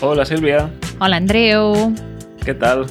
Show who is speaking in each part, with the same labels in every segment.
Speaker 1: Hola, Sílvia.
Speaker 2: Hola, Andreu.
Speaker 1: Què tal?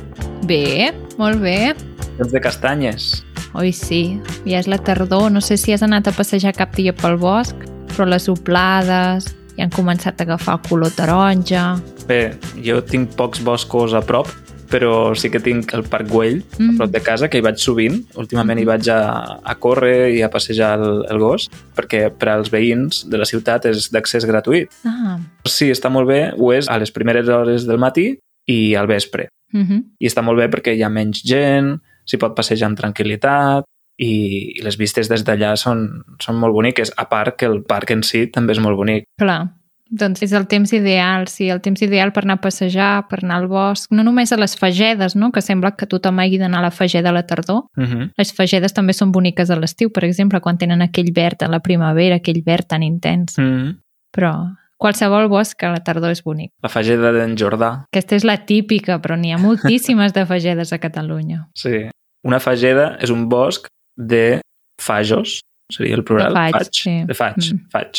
Speaker 2: Bé, molt bé.
Speaker 1: Temps de castanyes.
Speaker 2: Oi, sí. Ja és la tardor. No sé si has anat a passejar cap dia pel bosc, però les oplades ja han començat a agafar el color taronja.
Speaker 1: Bé, jo tinc pocs boscos a prop, però sí que tinc el Parc Güell, mm. a prop de casa, que hi vaig sovint. Últimament hi vaig a, a córrer i a passejar el, el gos, perquè per als veïns de la ciutat és d'accés gratuït.
Speaker 2: Ah,
Speaker 1: Sí, està molt bé, ho és a les primeres hores del matí i al vespre.
Speaker 2: mm -hmm.
Speaker 1: I està molt bé perquè hi ha menys gent, s'hi pot passejar amb tranquil·litat i, i les vistes des d'allà són, són molt boniques, a part que el parc en si també és molt bonic.
Speaker 2: clar. Doncs és el temps ideal, sí, el temps ideal per anar a passejar, per anar al bosc, no només a les fagedes, no?, que sembla que tothom hagi d'anar a la fageda a la tardor.
Speaker 1: Uh -huh.
Speaker 2: Les fagedes també són boniques a l'estiu, per exemple, quan tenen aquell verd a la primavera, aquell verd tan intens.
Speaker 1: Mm -hmm.
Speaker 2: Però qualsevol bosc a la tardor és bonic.
Speaker 1: La fageda d'en Jordà,
Speaker 2: Aquesta és la típica, però n'hi ha moltíssimes de fagedes a Catalunya.
Speaker 1: sí. Una fageda és un bosc de fajos, seria el plural.
Speaker 2: De faig, sí.
Speaker 1: De faig,
Speaker 2: Mm.
Speaker 1: faig.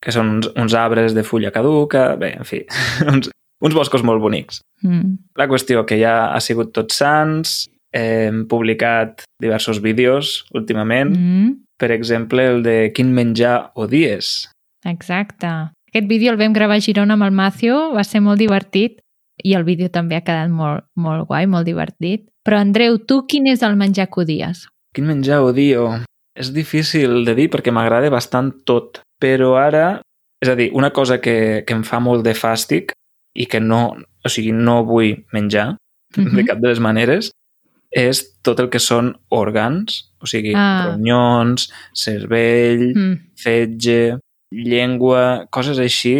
Speaker 1: Que són uns, uns arbres de fulla caduca, bé, en fi, uns, uns boscos molt bonics.
Speaker 2: Mm.
Speaker 1: La qüestió que ja ha sigut Tots Sants, hem publicat diversos vídeos últimament, mm.
Speaker 2: Mm.
Speaker 1: per exemple el de quin menjar odies.
Speaker 2: Exacte. Aquest vídeo el vam gravar a Girona amb el Macio, va ser molt divertit i el vídeo també ha quedat molt, molt guai, molt divertit. Però, Andreu, tu quin és el menjar que odies?
Speaker 1: Quin menjar odio? És difícil de dir perquè m'agrada bastant tot, però ara, és a dir, una cosa que, que em fa molt de fàstic i que no, o sigui, no vull menjar de
Speaker 2: Mhm.
Speaker 1: cap de les maneres, és tot el que són òrgans, o sigui,
Speaker 2: Ah.
Speaker 1: ah. ronyons, cervell, mm.
Speaker 2: Mm,
Speaker 1: fetge, llengua, coses així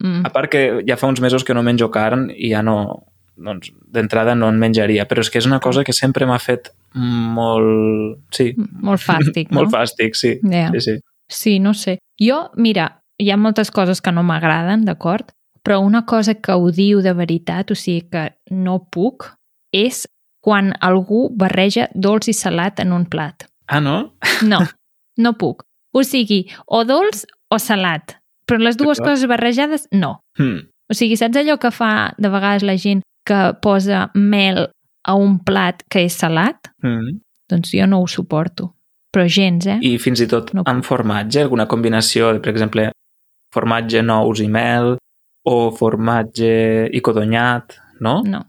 Speaker 2: mm.
Speaker 1: A part que ja fa uns mesos que no menjo carn i ja no, doncs, d'entrada no en menjaria, però és que és una cosa que sempre m'ha fet molt... Sí,
Speaker 2: Molt fàstic, no? Ah.
Speaker 1: molt fàstic, sí.
Speaker 2: Yeah.
Speaker 1: Sí, sí.
Speaker 2: Sí, no sé. Jo, mira, hi ha moltes coses que no m'agraden, d'acord? Però una cosa que odio de veritat, o sigui que no puc, és quan algú barreja dolç i salat en un plat.
Speaker 1: Ah, no?
Speaker 2: No, no puc. O sigui, o dolç o salat. Però les dues
Speaker 1: D'acord.
Speaker 2: coses barrejades, no.
Speaker 1: Hm.
Speaker 2: O sigui, saps allò que fa de vegades la gent que posa mel a un plat que és salat?
Speaker 1: Mm.
Speaker 2: Doncs jo no ho suporto. Però gens, eh?
Speaker 1: I fins i tot
Speaker 2: No
Speaker 1: no. amb formatge, alguna combinació de, per exemple, formatge, nous i mel, o formatge i codonyat, no?
Speaker 2: No,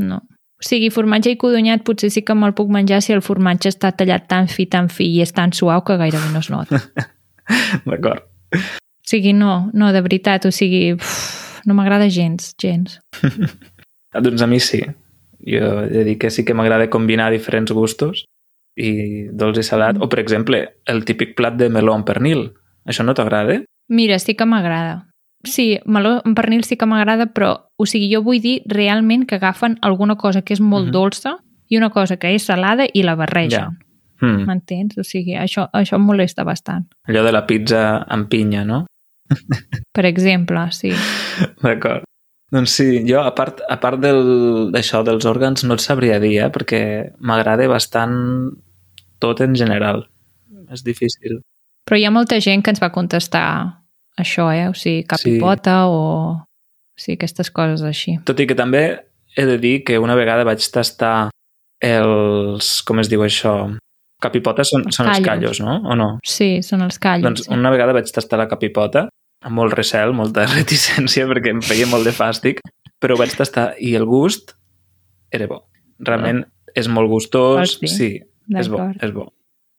Speaker 2: no. O sigui, formatge i codonyat potser sí que me'l puc menjar si el formatge està tallat tan fi, tan fi i és tan suau que gairebé no es nota. Mm.
Speaker 1: D'acord.
Speaker 2: O sigui, no, no, de veritat, o sigui, uf, no m'agrada gens, gens.
Speaker 1: Ah, Doncs a mi sí. Jo he de dir que sí que m'agrada combinar diferents gustos i dolç i
Speaker 2: Mm.
Speaker 1: salat. O, per exemple, el típic plat de meló amb pernil. Això no t'agrada?
Speaker 2: Mira, sí que m'agrada. Sí, meló amb pernil sí que m'agrada, però, o sigui, jo vull dir realment que agafen alguna cosa que és molt
Speaker 1: Mhm.
Speaker 2: dolça i una cosa que és salada i la barregen.
Speaker 1: Mm.
Speaker 2: M'entens? O sigui, això, això em molesta bastant.
Speaker 1: Allò de la pizza amb pinya, no?
Speaker 2: Per exemple, sí.
Speaker 1: D'acord. Doncs sí, jo, a part, a part del- d'això dels òrgans, no et sabria dir, eh? Perquè m'agrada bastant tot en general. És difícil.
Speaker 2: Però hi ha molta gent que ens va contestar això, eh? O sigui, cap sí.
Speaker 1: Sí.
Speaker 2: i pota o... o sigui, aquestes coses així.
Speaker 1: Tot i que també he de dir que una vegada vaig tastar els... com es diu això? Capipota són,
Speaker 2: Els
Speaker 1: són els
Speaker 2: callos.
Speaker 1: callos, no? O no?
Speaker 2: Sí, són els callos.
Speaker 1: Doncs una vegada vaig tastar la capipota, amb molt recel, molta reticència, perquè em feia molt de fàstic, però ho vaig tastar i el gust era bo.
Speaker 2: Ah.
Speaker 1: Realment és molt gustós,
Speaker 2: Vols dir?
Speaker 1: sí,
Speaker 2: sí.
Speaker 1: és bo,
Speaker 2: D'acord.
Speaker 1: és bo.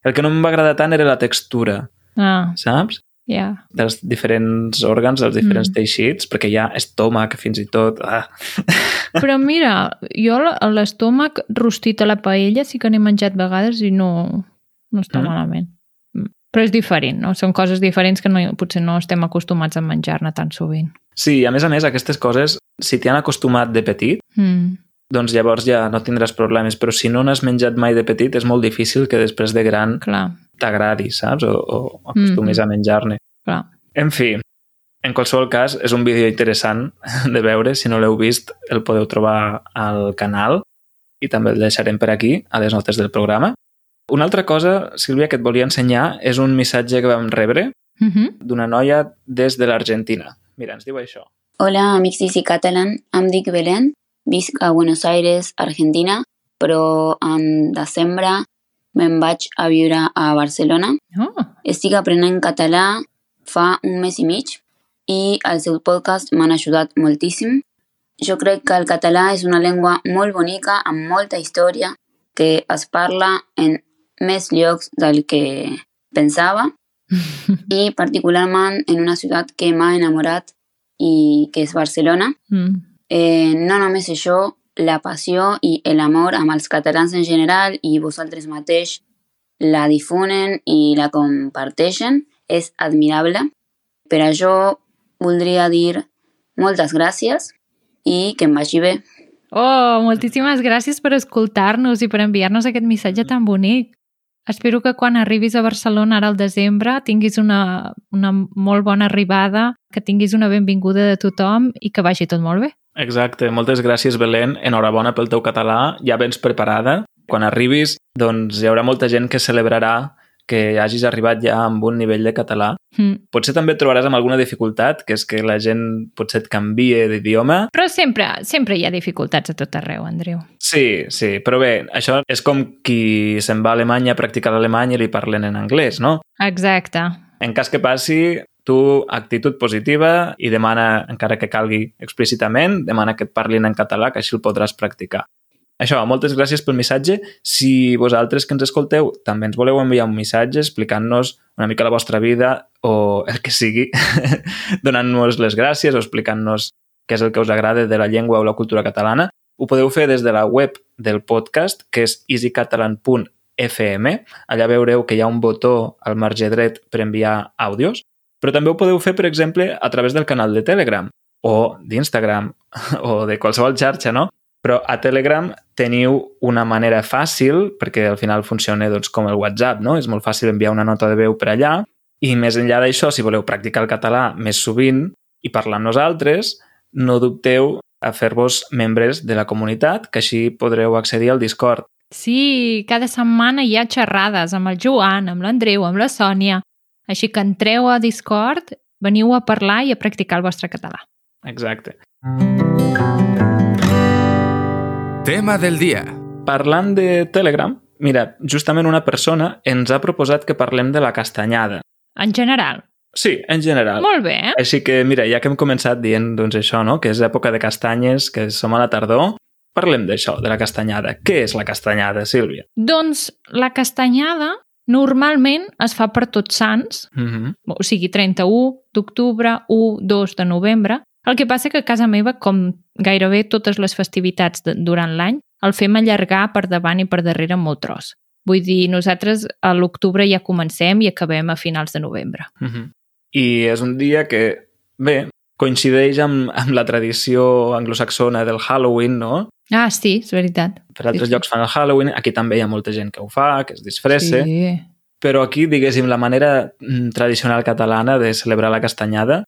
Speaker 1: El que no em va agradar tant era la textura,
Speaker 2: Ah,
Speaker 1: saps?
Speaker 2: ja.
Speaker 1: Dels diferents òrgans, dels diferents
Speaker 2: Mm.
Speaker 1: mm. teixits, perquè hi ha estómac fins i tot. Ah,
Speaker 2: Però mira, jo l- l'estómac rostit a la paella sí que n'he menjat vegades i no, no està
Speaker 1: Mm.
Speaker 2: mm. malament. Mm. Però és diferent, no? Són coses diferents que no, potser no estem acostumats a menjar-ne tan sovint.
Speaker 1: Sí, i a més a més, aquestes coses, si t'hi han acostumat de petit,
Speaker 2: Mm.
Speaker 1: doncs llavors ja no tindràs problemes, però si no n'has menjat mai de petit, és molt difícil que després de gran
Speaker 2: Clar,
Speaker 1: t'agradi, saps? O, o acostumis
Speaker 2: Mhm.
Speaker 1: a menjar-ne.
Speaker 2: clar.
Speaker 1: En fi, En qualsevol cas, és un vídeo interessant de veure. Si no l'heu vist, el podeu trobar al canal i també el deixarem per aquí, a les notes del programa. Una altra cosa, Sílvia, que et volia ensenyar és un missatge que vam rebre
Speaker 2: Uh -huh.
Speaker 1: d'una noia des de l'Argentina. Mira, ens diu això.
Speaker 3: Hola, amics d'Easy Catalan. Em dic Belén, visc a Buenos Aires, Argentina, però en desembre me'n vaig a viure a Barcelona.
Speaker 2: Oh,
Speaker 3: Estic aprenent català fa un mes i mig i el seu podcast m'han ajudat moltíssim. Jo crec que el català és una llengua molt bonica, amb molta història, que es parla en més llocs del que pensava i particularment en una ciutat que m'ha enamorat i que és Barcelona.
Speaker 2: mm.
Speaker 3: Eh, no només això, la passió i l'amor amb els catalans en general i vosaltres mateix la difonen i la comparteixen és admirable. Per això voldria dir moltes gràcies i que em vagi bé.
Speaker 2: oh moltíssimes gràcies per escoltar-nos i per enviar-nos aquest missatge tan bonic. Espero que quan arribis a Barcelona ara al desembre tinguis una, una molt bona arribada, que tinguis una benvinguda de tothom i que vagi tot molt bé.
Speaker 1: Exacte, moltes gràcies, Belén. Enhorabona pel teu català, ja vens preparada. Quan arribis, doncs hi haurà molta gent que celebrarà que hagis arribat ja amb un nivell de català.
Speaker 2: Mm.
Speaker 1: Potser també et trobaràs amb alguna dificultat, que és que la gent potser et canvie d'idioma.
Speaker 2: Però sempre, sempre hi ha dificultats a tot arreu, Andreu.
Speaker 1: Sí, sí, però bé, això és com qui se'n va a Alemanya a practicar l'alemany i li parlen en anglès, no?
Speaker 2: Exacte.
Speaker 1: En cas que passi, tu actitud positiva i demana, encara que calgui explícitament, demana que et parlin en català, que així el podràs practicar. Això, moltes gràcies pel missatge. Si vosaltres que ens escolteu també ens voleu enviar un missatge explicant-nos una mica la vostra vida o el que sigui, donant-nos les gràcies o explicant-nos què és el que us agrada de la llengua o la cultura catalana, ho podeu fer des de la web del podcast, que és easycatalan.fm, Allà veureu que hi ha un botó al marge dret per enviar àudios, però també ho podeu fer, per exemple, a través del canal de Telegram o d'Instagram o de qualsevol xarxa, no? Però a Telegram teniu una manera fàcil, perquè al final funciona doncs, com el WhatsApp, no? És molt fàcil enviar una nota de veu per allà i més enllà d'això, si voleu practicar el català més sovint i parlar amb nosaltres, no dubteu a fer-vos membres de la comunitat, que així podreu accedir al Discord
Speaker 2: Sí, cada setmana hi ha xerrades amb el Joan, amb l'Andreu, amb la Sònia. Així que entreu a Discord, veniu a parlar i a practicar el vostre català.
Speaker 1: Exacte.
Speaker 4: Tema del día.
Speaker 1: Parlant de Telegram, mira, justament una persona ens ha proposat que parlem de la castanyada.
Speaker 2: En general.
Speaker 1: Sí, en general.
Speaker 2: Molt bé, eh?
Speaker 1: Així que, mira, ja que hem començat dient doncs, això, no? que és època de castanyes, que som a la tardor, parlem d'això, de la castanyada. Què és la castanyada, Sílvia?
Speaker 2: Doncs la castanyada normalment es fa per tots sants,
Speaker 1: Mm -hmm.
Speaker 2: o sigui 31 d'octubre, 1, 2 de novembre. El que passa que a casa meva, com gairebé totes les festivitats de, durant l'any, el fem allargar per davant i per darrere molt tros. Vull dir, nosaltres a l'octubre ja comencem i acabem a finals de novembre.
Speaker 1: Mm -hmm. I és un dia que, bé, coincideix amb, amb la tradició anglosaxona del Halloween, no?
Speaker 2: Ah, sí, és veritat.
Speaker 1: Per altres
Speaker 2: Sí, sí.
Speaker 1: llocs fan el Halloween, aquí també hi ha molta gent que ho fa, que es disfressa,
Speaker 2: Sí.
Speaker 1: Però aquí, diguéssim, la manera mm, tradicional catalana de celebrar la castanyada,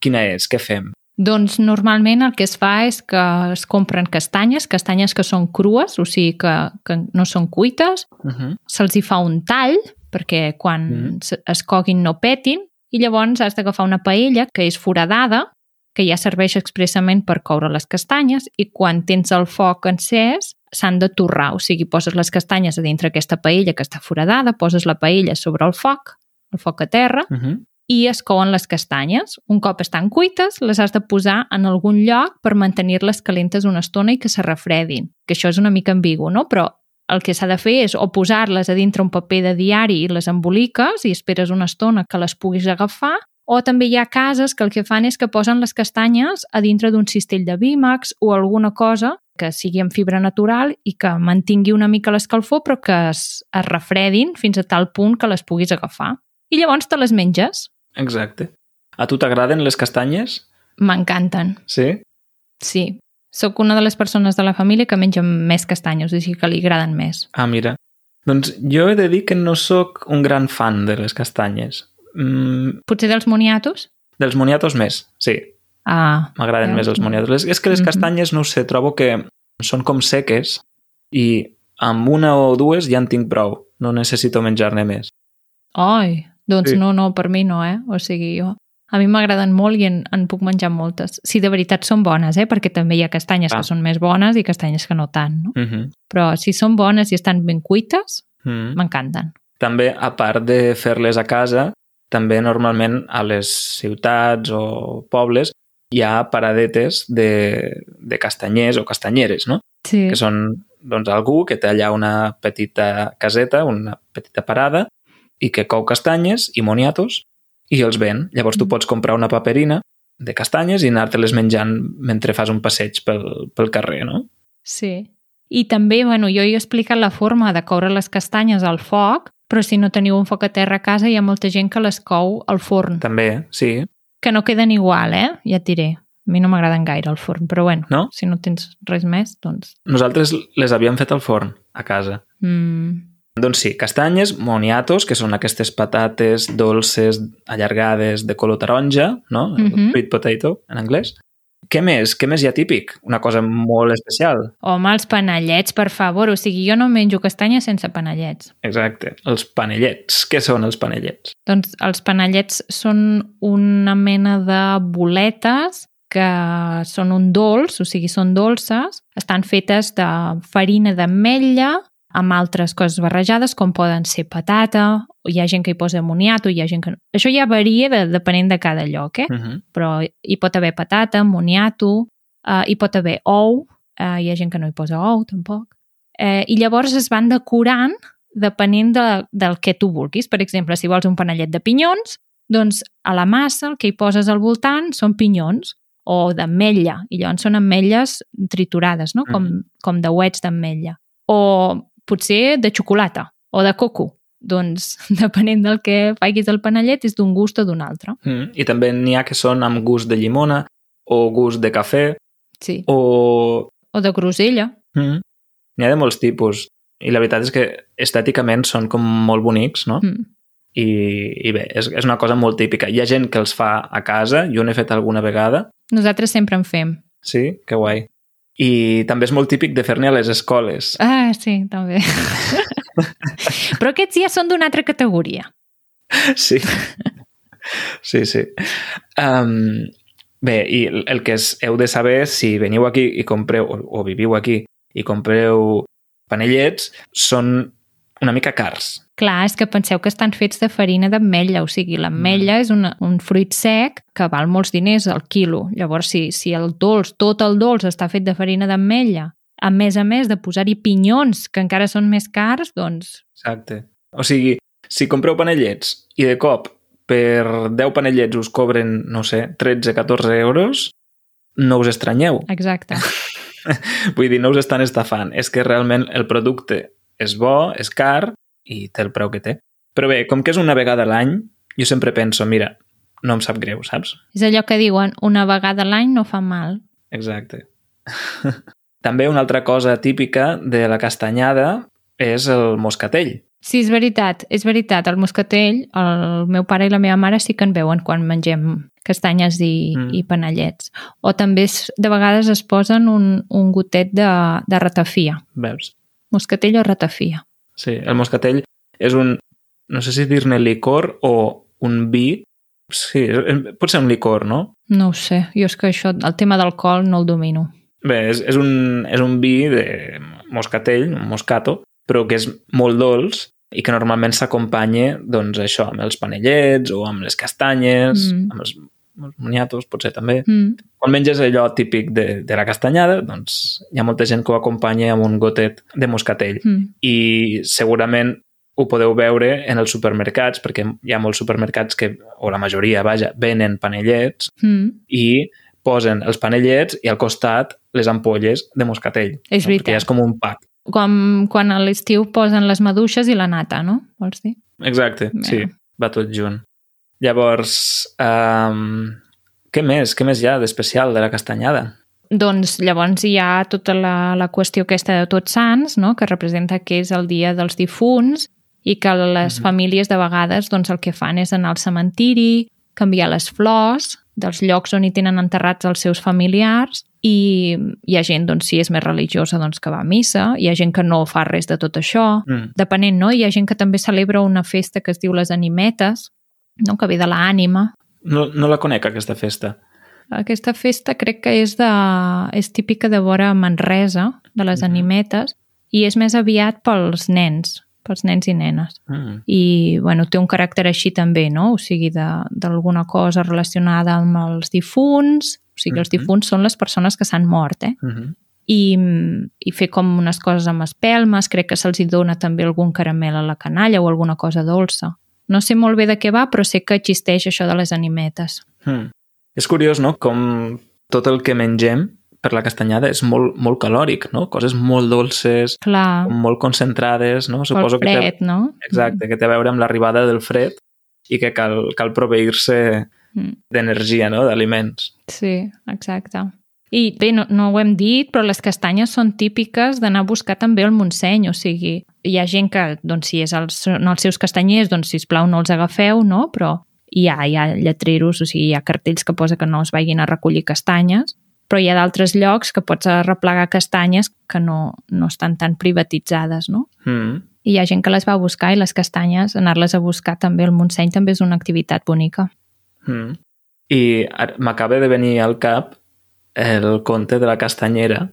Speaker 1: quina és? Què fem?
Speaker 2: Doncs normalment el que es fa és que es compren castanyes, castanyes que són crues, o sigui que, que no són cuites,
Speaker 1: Uh -huh.
Speaker 2: se'ls hi fa un tall perquè quan
Speaker 1: Mm.
Speaker 2: mm. es coguin no petin i llavors has d'agafar una paella que és foradada, que ja serveix expressament per coure les castanyes i quan tens el foc encès s'han de torrar, o sigui, poses les castanyes a dintre aquesta paella que està foradada, poses la paella sobre el foc, el foc a terra,
Speaker 1: Uh -huh.
Speaker 2: i es couen les castanyes. Un cop estan cuites, les has de posar en algun lloc per mantenir-les calentes una estona i que se refredin. Que això és una mica ambigu, no? Però el que s'ha de fer és o posar-les a dintre un paper de diari i les emboliques i esperes una estona que les puguis agafar, o també hi ha cases que el que fan és que posen les castanyes a dintre d'un cistell de bímax o alguna cosa que sigui en fibra natural i que mantingui una mica l'escalfor però que es, es refredin fins a tal punt que les puguis agafar. I llavors te les menges.
Speaker 1: Exacte. A tu t'agraden les castanyes?
Speaker 2: M'encanten,
Speaker 1: Sí?
Speaker 2: sí. Soc una de les persones de la família que menja més castanyos, així que li agraden més.
Speaker 1: Ah, mira. Doncs jo he de dir que no sóc un gran fan de les castanyes. Mm,
Speaker 2: Potser dels moniatos?
Speaker 1: Dels moniatos més, sí.
Speaker 2: Ah,
Speaker 1: M'agraden
Speaker 2: Veus?
Speaker 1: més els moniatos. Les- És que les
Speaker 2: Mhm.
Speaker 1: castanyes, no ho sé, trobo que són com seques i amb una o dues ja en tinc prou. No necessito menjar-ne més.
Speaker 2: Ai, doncs
Speaker 1: Sí.
Speaker 2: sí. no, no, per mi no, eh? O sigui, jo... A mi m'agraden molt i en, en puc menjar moltes. Si de veritat són bones, eh? Perquè també hi ha castanyes
Speaker 1: Ah.
Speaker 2: que són més bones i castanyes que no tant, no?
Speaker 1: Uh -huh.
Speaker 2: Però si són bones i estan ben cuites,
Speaker 1: Mm.
Speaker 2: m'encanten.
Speaker 1: També, a part de fer-les a casa, també normalment a les ciutats o pobles hi ha paradetes de, de castanyers o castanyeres, no?
Speaker 2: Sí.
Speaker 1: que són doncs, algú que té allà una petita caseta, una petita parada, i que cou castanyes i moniatos i els ven. Llavors tu
Speaker 2: Mm.
Speaker 1: pots comprar una paperina de castanyes i anar-te-les menjant mentre fas un passeig pel, pel carrer, no?
Speaker 2: Sí. I també, bueno, jo he explicat la forma de coure les castanyes al foc, però si no teniu un foc a terra a casa hi ha molta gent que les cou al forn,
Speaker 1: També, sí.
Speaker 2: que no queden igual, eh? Ja et diré. A mi no m'agraden gaire al forn, però bueno,
Speaker 1: No?
Speaker 2: si no tens res més, doncs...
Speaker 1: Nosaltres les havíem fet al forn, a casa.
Speaker 2: Mm,
Speaker 1: Doncs sí, castanyes, moniatos, que són aquestes patates dolces, allargades, de color taronja, no? Mm
Speaker 2: Mhm.
Speaker 1: -hmm. Sweet potato, en anglès. Què més? Què més hi ha típic? Una cosa molt especial.
Speaker 2: Home, els panellets, per favor. O sigui, jo no menjo castanyes sense panellets.
Speaker 1: Exacte. Els panellets. Què són els panellets?
Speaker 2: Doncs els panellets són una mena de boletes que són un dolç, o sigui, són dolces. Estan fetes de farina d'ametlla amb altres coses barrejades, com poden ser patata, o hi ha gent que hi posa moniato, hi ha gent que no. Això ja varia de, depenent de cada lloc, eh?
Speaker 1: Uh -huh.
Speaker 2: però hi pot haver patata, moniato, eh, hi pot haver ou, eh, hi ha gent que no hi posa ou tampoc, eh, i llavors es van decorant depenent de, del que tu vulguis. Per exemple, si vols un panellet de pinyons, doncs a la massa el que hi poses al voltant són pinyons o d'ametlla, i llavors són ametlles triturades, no? com,
Speaker 1: Mhm.
Speaker 2: com dauets d'ametlla. O potser de xocolata o de coco. Doncs, depenent del que facis el panellet, és d'un gust o d'un altre.
Speaker 1: Mm. I també n'hi ha que són amb gust de llimona, o gust de cafè,
Speaker 2: Sí.
Speaker 1: o...
Speaker 2: o de grosella.
Speaker 1: Mm. N'hi ha de molts tipus. I la veritat és que estèticament són com molt bonics, no?
Speaker 2: Mm.
Speaker 1: I, i bé, és, és una cosa molt típica. Hi ha gent que els fa a casa, jo n'he fet alguna vegada,
Speaker 2: Nosaltres sempre en fem.
Speaker 1: sí, que guai. I també és molt típic de fer-ne a les escoles.
Speaker 2: Ah, sí, també. Però aquests ja són d'una altra categoria.
Speaker 1: Sí. Sí, sí. Um, bé, i el el que es, heu de saber si veniu aquí i compreu, o, o viviu aquí i compreu panellets, són una mica cars.
Speaker 2: Clar, és que penseu que estan fets de farina d'ametlla, o sigui, l'ametlla és una, un fruit sec que val molts diners al quilo. Llavors, si, si el dolç, tot el dolç està fet de farina d'ametlla, a més a més de posar-hi pinyons, que encara són més cars, doncs
Speaker 1: Exacte. O sigui, si compreu panellets i de cop per 10 panellets us cobren, no sé, 13-14 euros, no us estranyeu.
Speaker 2: exacte.
Speaker 1: Vull dir, no us estan estafant. És que realment el producte és bo, és car i té el preu que té. Però bé, com que és una vegada a l'any, jo sempre penso, mira, no em sap greu, saps?
Speaker 2: És allò que diuen, una vegada a l'any no fa mal.
Speaker 1: Exacte. També una altra cosa típica de la castanyada és el moscatell.
Speaker 2: Sí, és veritat, és veritat. El moscatell, el meu pare i la meva mare sí que en veuen quan mengem castanyes i,
Speaker 1: Mm.
Speaker 2: mm. i panellets. O també es, de vegades es posen un, un gotet de, de ratafia.
Speaker 1: Veus?
Speaker 2: Moscatell o ratafia.
Speaker 1: Sí, el moscatell és un... No sé si dir-ne licor o un vi. Sí, és- pot ser un licor, no?
Speaker 2: No ho sé, jo és que això, el tema d'alcohol no el domino.
Speaker 1: Bé, és, és, un, és un vi de moscatell, un moscato, però que és molt dolç i que normalment s'acompanya, doncs, això, amb els panellets o amb les castanyes,
Speaker 2: Mm.
Speaker 1: mm. amb els, els moniatos, potser també.
Speaker 2: Mm.
Speaker 1: Quan menges allò típic de, de la castanyada, doncs hi ha molta gent que ho acompanya amb un gotet de moscatell.
Speaker 2: Mm.
Speaker 1: I segurament ho podeu veure en els supermercats, perquè hi ha molts supermercats que, o la majoria, vaja, venen panellets
Speaker 2: Mm.
Speaker 1: i posen els panellets i al costat les ampolles de moscatell.
Speaker 2: És veritat.
Speaker 1: Perquè és com un pack.
Speaker 2: Quan, quan a l'estiu posen les maduixes i la nata, no? Vols dir?
Speaker 1: Exacte,
Speaker 2: Bé.
Speaker 1: sí, va tot junt. Llavors, um, què més? Què més hi ha d'especial de la castanyada?
Speaker 2: Doncs llavors hi ha tota la, la qüestió aquesta de Tots Sants, no? que representa que és el dia dels difunts i que les
Speaker 1: Mhm.
Speaker 2: famílies de vegades doncs, el que fan és anar al cementiri canviar les flors dels llocs on hi tenen enterrats els seus familiars i hi ha gent, doncs, si és més religiosa, doncs, que va a missa, hi ha gent que no fa res de tot això,
Speaker 1: Mm.
Speaker 2: depenent, no? Hi ha gent que també celebra una festa que es diu les animetes, no? que ve de l'ànima.
Speaker 1: No, no la conec, aquesta festa.
Speaker 2: Aquesta festa crec que és, de, és típica de vora Manresa, de les
Speaker 1: Mhm.
Speaker 2: animetes, i és més aviat pels nens, pels nens i nenes.
Speaker 1: Mm.
Speaker 2: I, bueno, té un caràcter així també, no? O sigui, de- d'alguna cosa relacionada amb els difunts, o sigui, els
Speaker 1: Mhm.
Speaker 2: difunts són les persones que s'han mort, eh?
Speaker 1: Mm -hmm.
Speaker 2: i, i fer com unes coses amb espelmes, crec que se'ls hi dona també algun caramel a la canalla o alguna cosa dolça. No sé molt bé de què va, però sé que existeix això de les animetes.
Speaker 1: Mm. És curiós, no?, com tot el que mengem per la castanyada és molt, molt calòric, no? Coses molt dolces,
Speaker 2: Clar,
Speaker 1: com molt concentrades, no?
Speaker 2: pel
Speaker 1: Suposo que té,
Speaker 2: fred, no?
Speaker 1: exacte, que té a veure amb l'arribada del fred i que cal, cal proveir-se
Speaker 2: Mm,
Speaker 1: d'energia, no?, d'aliments.
Speaker 2: Sí, exacte. I bé, no, no ho hem dit, però les castanyes són típiques d'anar a buscar també el Montseny, o sigui, hi ha gent que, doncs, si és els, són els seus castanyers, doncs, sisplau, no els agafeu, no? Però hi ha, hi ha lletreros, o sigui, hi ha cartells que posa que no es vagin a recollir castanyes, però hi ha d'altres llocs que pots arreplegar castanyes que no, no estan tan privatitzades, no?
Speaker 1: Mm.
Speaker 2: I hi ha gent que les va a buscar i les castanyes, anar-les a buscar també al Montseny també és una activitat bonica.
Speaker 1: Mm. I ara m'acaba de venir al cap el conte de la castanyera,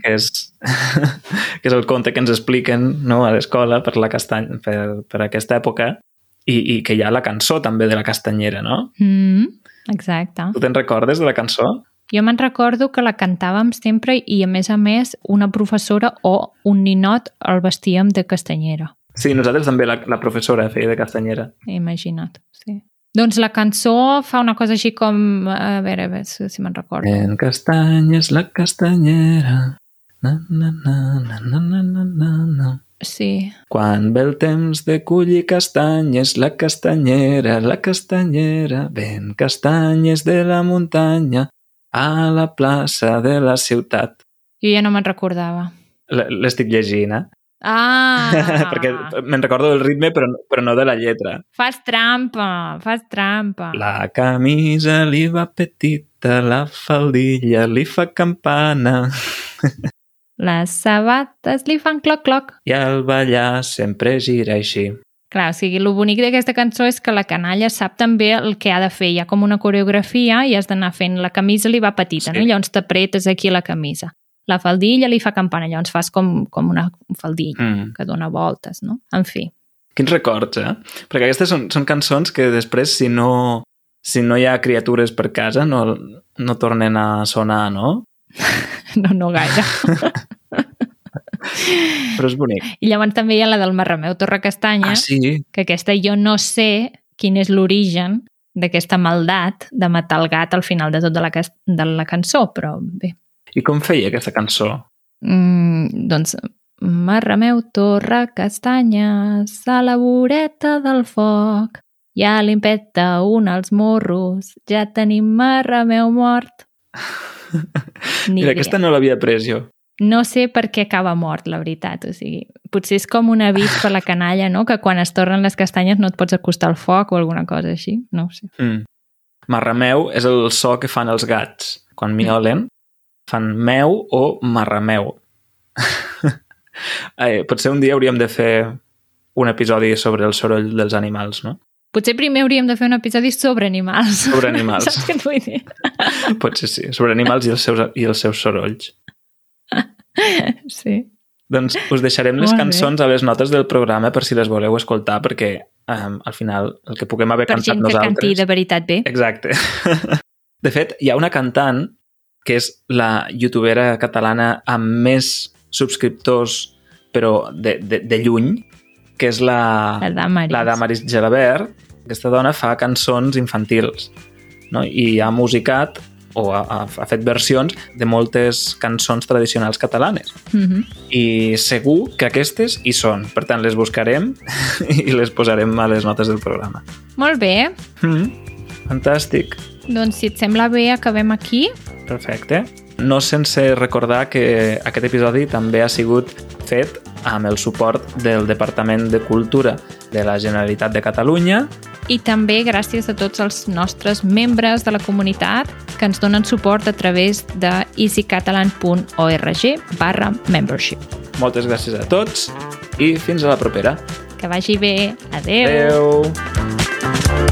Speaker 1: que és, que és el conte que ens expliquen no, a l'escola per, la castany, per, per aquesta època i, i que hi ha la cançó també de la castanyera, no?
Speaker 2: Mm, exacte.
Speaker 1: Tu te'n recordes de la cançó?
Speaker 2: Jo me'n recordo que la cantàvem sempre i, a més a més, una professora o un ninot el vestíem de castanyera.
Speaker 1: Sí, nosaltres també la, la professora feia de castanyera.
Speaker 2: Imagina't, sí. Doncs la cançó fa una cosa així com... A veure, a veure si si me'n recordo. Eh.
Speaker 1: En castanyes la castanyera na, na, na, na, na, na, na, na, na.
Speaker 2: Sí.
Speaker 1: Quan ve el temps de collir castanyes, la castanyera, la castanyera, ven castanyes de la muntanya a la plaça de la ciutat.
Speaker 2: Jo ja no me'n recordava.
Speaker 1: L- L'estic llegint, eh?
Speaker 2: Ah!
Speaker 1: Perquè me'n recordo del ritme, però, però no de la lletra.
Speaker 2: Fas trampa, fas trampa.
Speaker 1: La camisa li va petita, la faldilla li fa campana
Speaker 2: Les sabates li fan cloc-cloc.
Speaker 1: i el ballar sempre gira així.
Speaker 2: Clar, o sigui, el bonic d'aquesta cançó és que la canalla sap també el que ha de fer. Hi ha com una coreografia i has d'anar fent... La camisa li va petita,
Speaker 1: Sí.
Speaker 2: sí. no? Llavors t'apretes aquí la camisa. La faldilla li fa campana, llavors fas com, com una faldilla
Speaker 1: Mm.
Speaker 2: que dona voltes, no? En fi.
Speaker 1: Quins records, eh? Perquè aquestes són, són cançons que després, si no, si no hi ha criatures per casa, no, no tornen a sonar, no?
Speaker 2: No, no gaire.
Speaker 1: Però és bonic.
Speaker 2: I llavors també hi ha la del Marrameu Torre Castanya,
Speaker 1: Ah, sí?
Speaker 2: que aquesta jo no sé quin és l'origen d'aquesta maldat de matar el gat al final de tota la, cas- de la cançó, però bé,
Speaker 1: I com feia aquesta cançó?
Speaker 2: Mm, doncs, marrameu, torre, castanyes, a la voreta del foc. Ja li empeta un als morros, ja tenim marrameu mort. Ni
Speaker 1: Mira,
Speaker 2: idea.
Speaker 1: aquesta no l'havia pres jo.
Speaker 2: No sé per què acaba mort, la veritat. O sigui, potser és com un avís per la canalla, no? Que quan es tornen les castanyes no et pots acostar al foc o alguna cosa així. No ho sé.
Speaker 1: Mm. Marrameu és el so que fan els gats. Quan
Speaker 2: Mm.
Speaker 1: miolen, fan meu o marrameu. Ai, potser un dia hauríem de fer un episodi sobre el soroll dels animals, no?
Speaker 2: Potser primer hauríem de fer un episodi sobre animals.
Speaker 1: Sobre animals.
Speaker 2: Saps què et vull dir?
Speaker 1: Potser sí, sobre animals i els seus, i els seus sorolls.
Speaker 2: Sí.
Speaker 1: Doncs us deixarem les
Speaker 2: Molt bé.
Speaker 1: cançons a les notes del programa per si les voleu escoltar, perquè um, al final el que puguem haver
Speaker 2: Per
Speaker 1: cantat
Speaker 2: gent que
Speaker 1: nosaltres...
Speaker 2: canti de veritat bé.
Speaker 1: Exacte. De fet, hi ha una cantant que és la youtubera catalana amb més subscriptors, però de, de, de lluny, que és
Speaker 2: La
Speaker 1: la,
Speaker 2: Damaris.
Speaker 1: Ah. la Damaris Gelabert. Aquesta dona fa cançons infantils no? i ha musicat o ha, ha- ha fet versions de moltes cançons tradicionals catalanes
Speaker 2: Mhm.
Speaker 1: i segur que aquestes hi són. Per tant, les buscarem i les posarem a les notes del programa.
Speaker 2: Molt bé,
Speaker 1: Mm, fantàstic,
Speaker 2: doncs si et sembla bé acabem aquí.
Speaker 1: perfecte. No sense recordar que aquest episodi també ha sigut fet amb el suport del Departament de Cultura de la Generalitat de Catalunya
Speaker 2: i també gràcies a tots els nostres membres de la comunitat que ens donen suport a través de easycatalan.org barra membership.
Speaker 1: Moltes gràcies a tots i fins a la propera.
Speaker 2: Que vagi bé. Adeu.
Speaker 1: Adeu.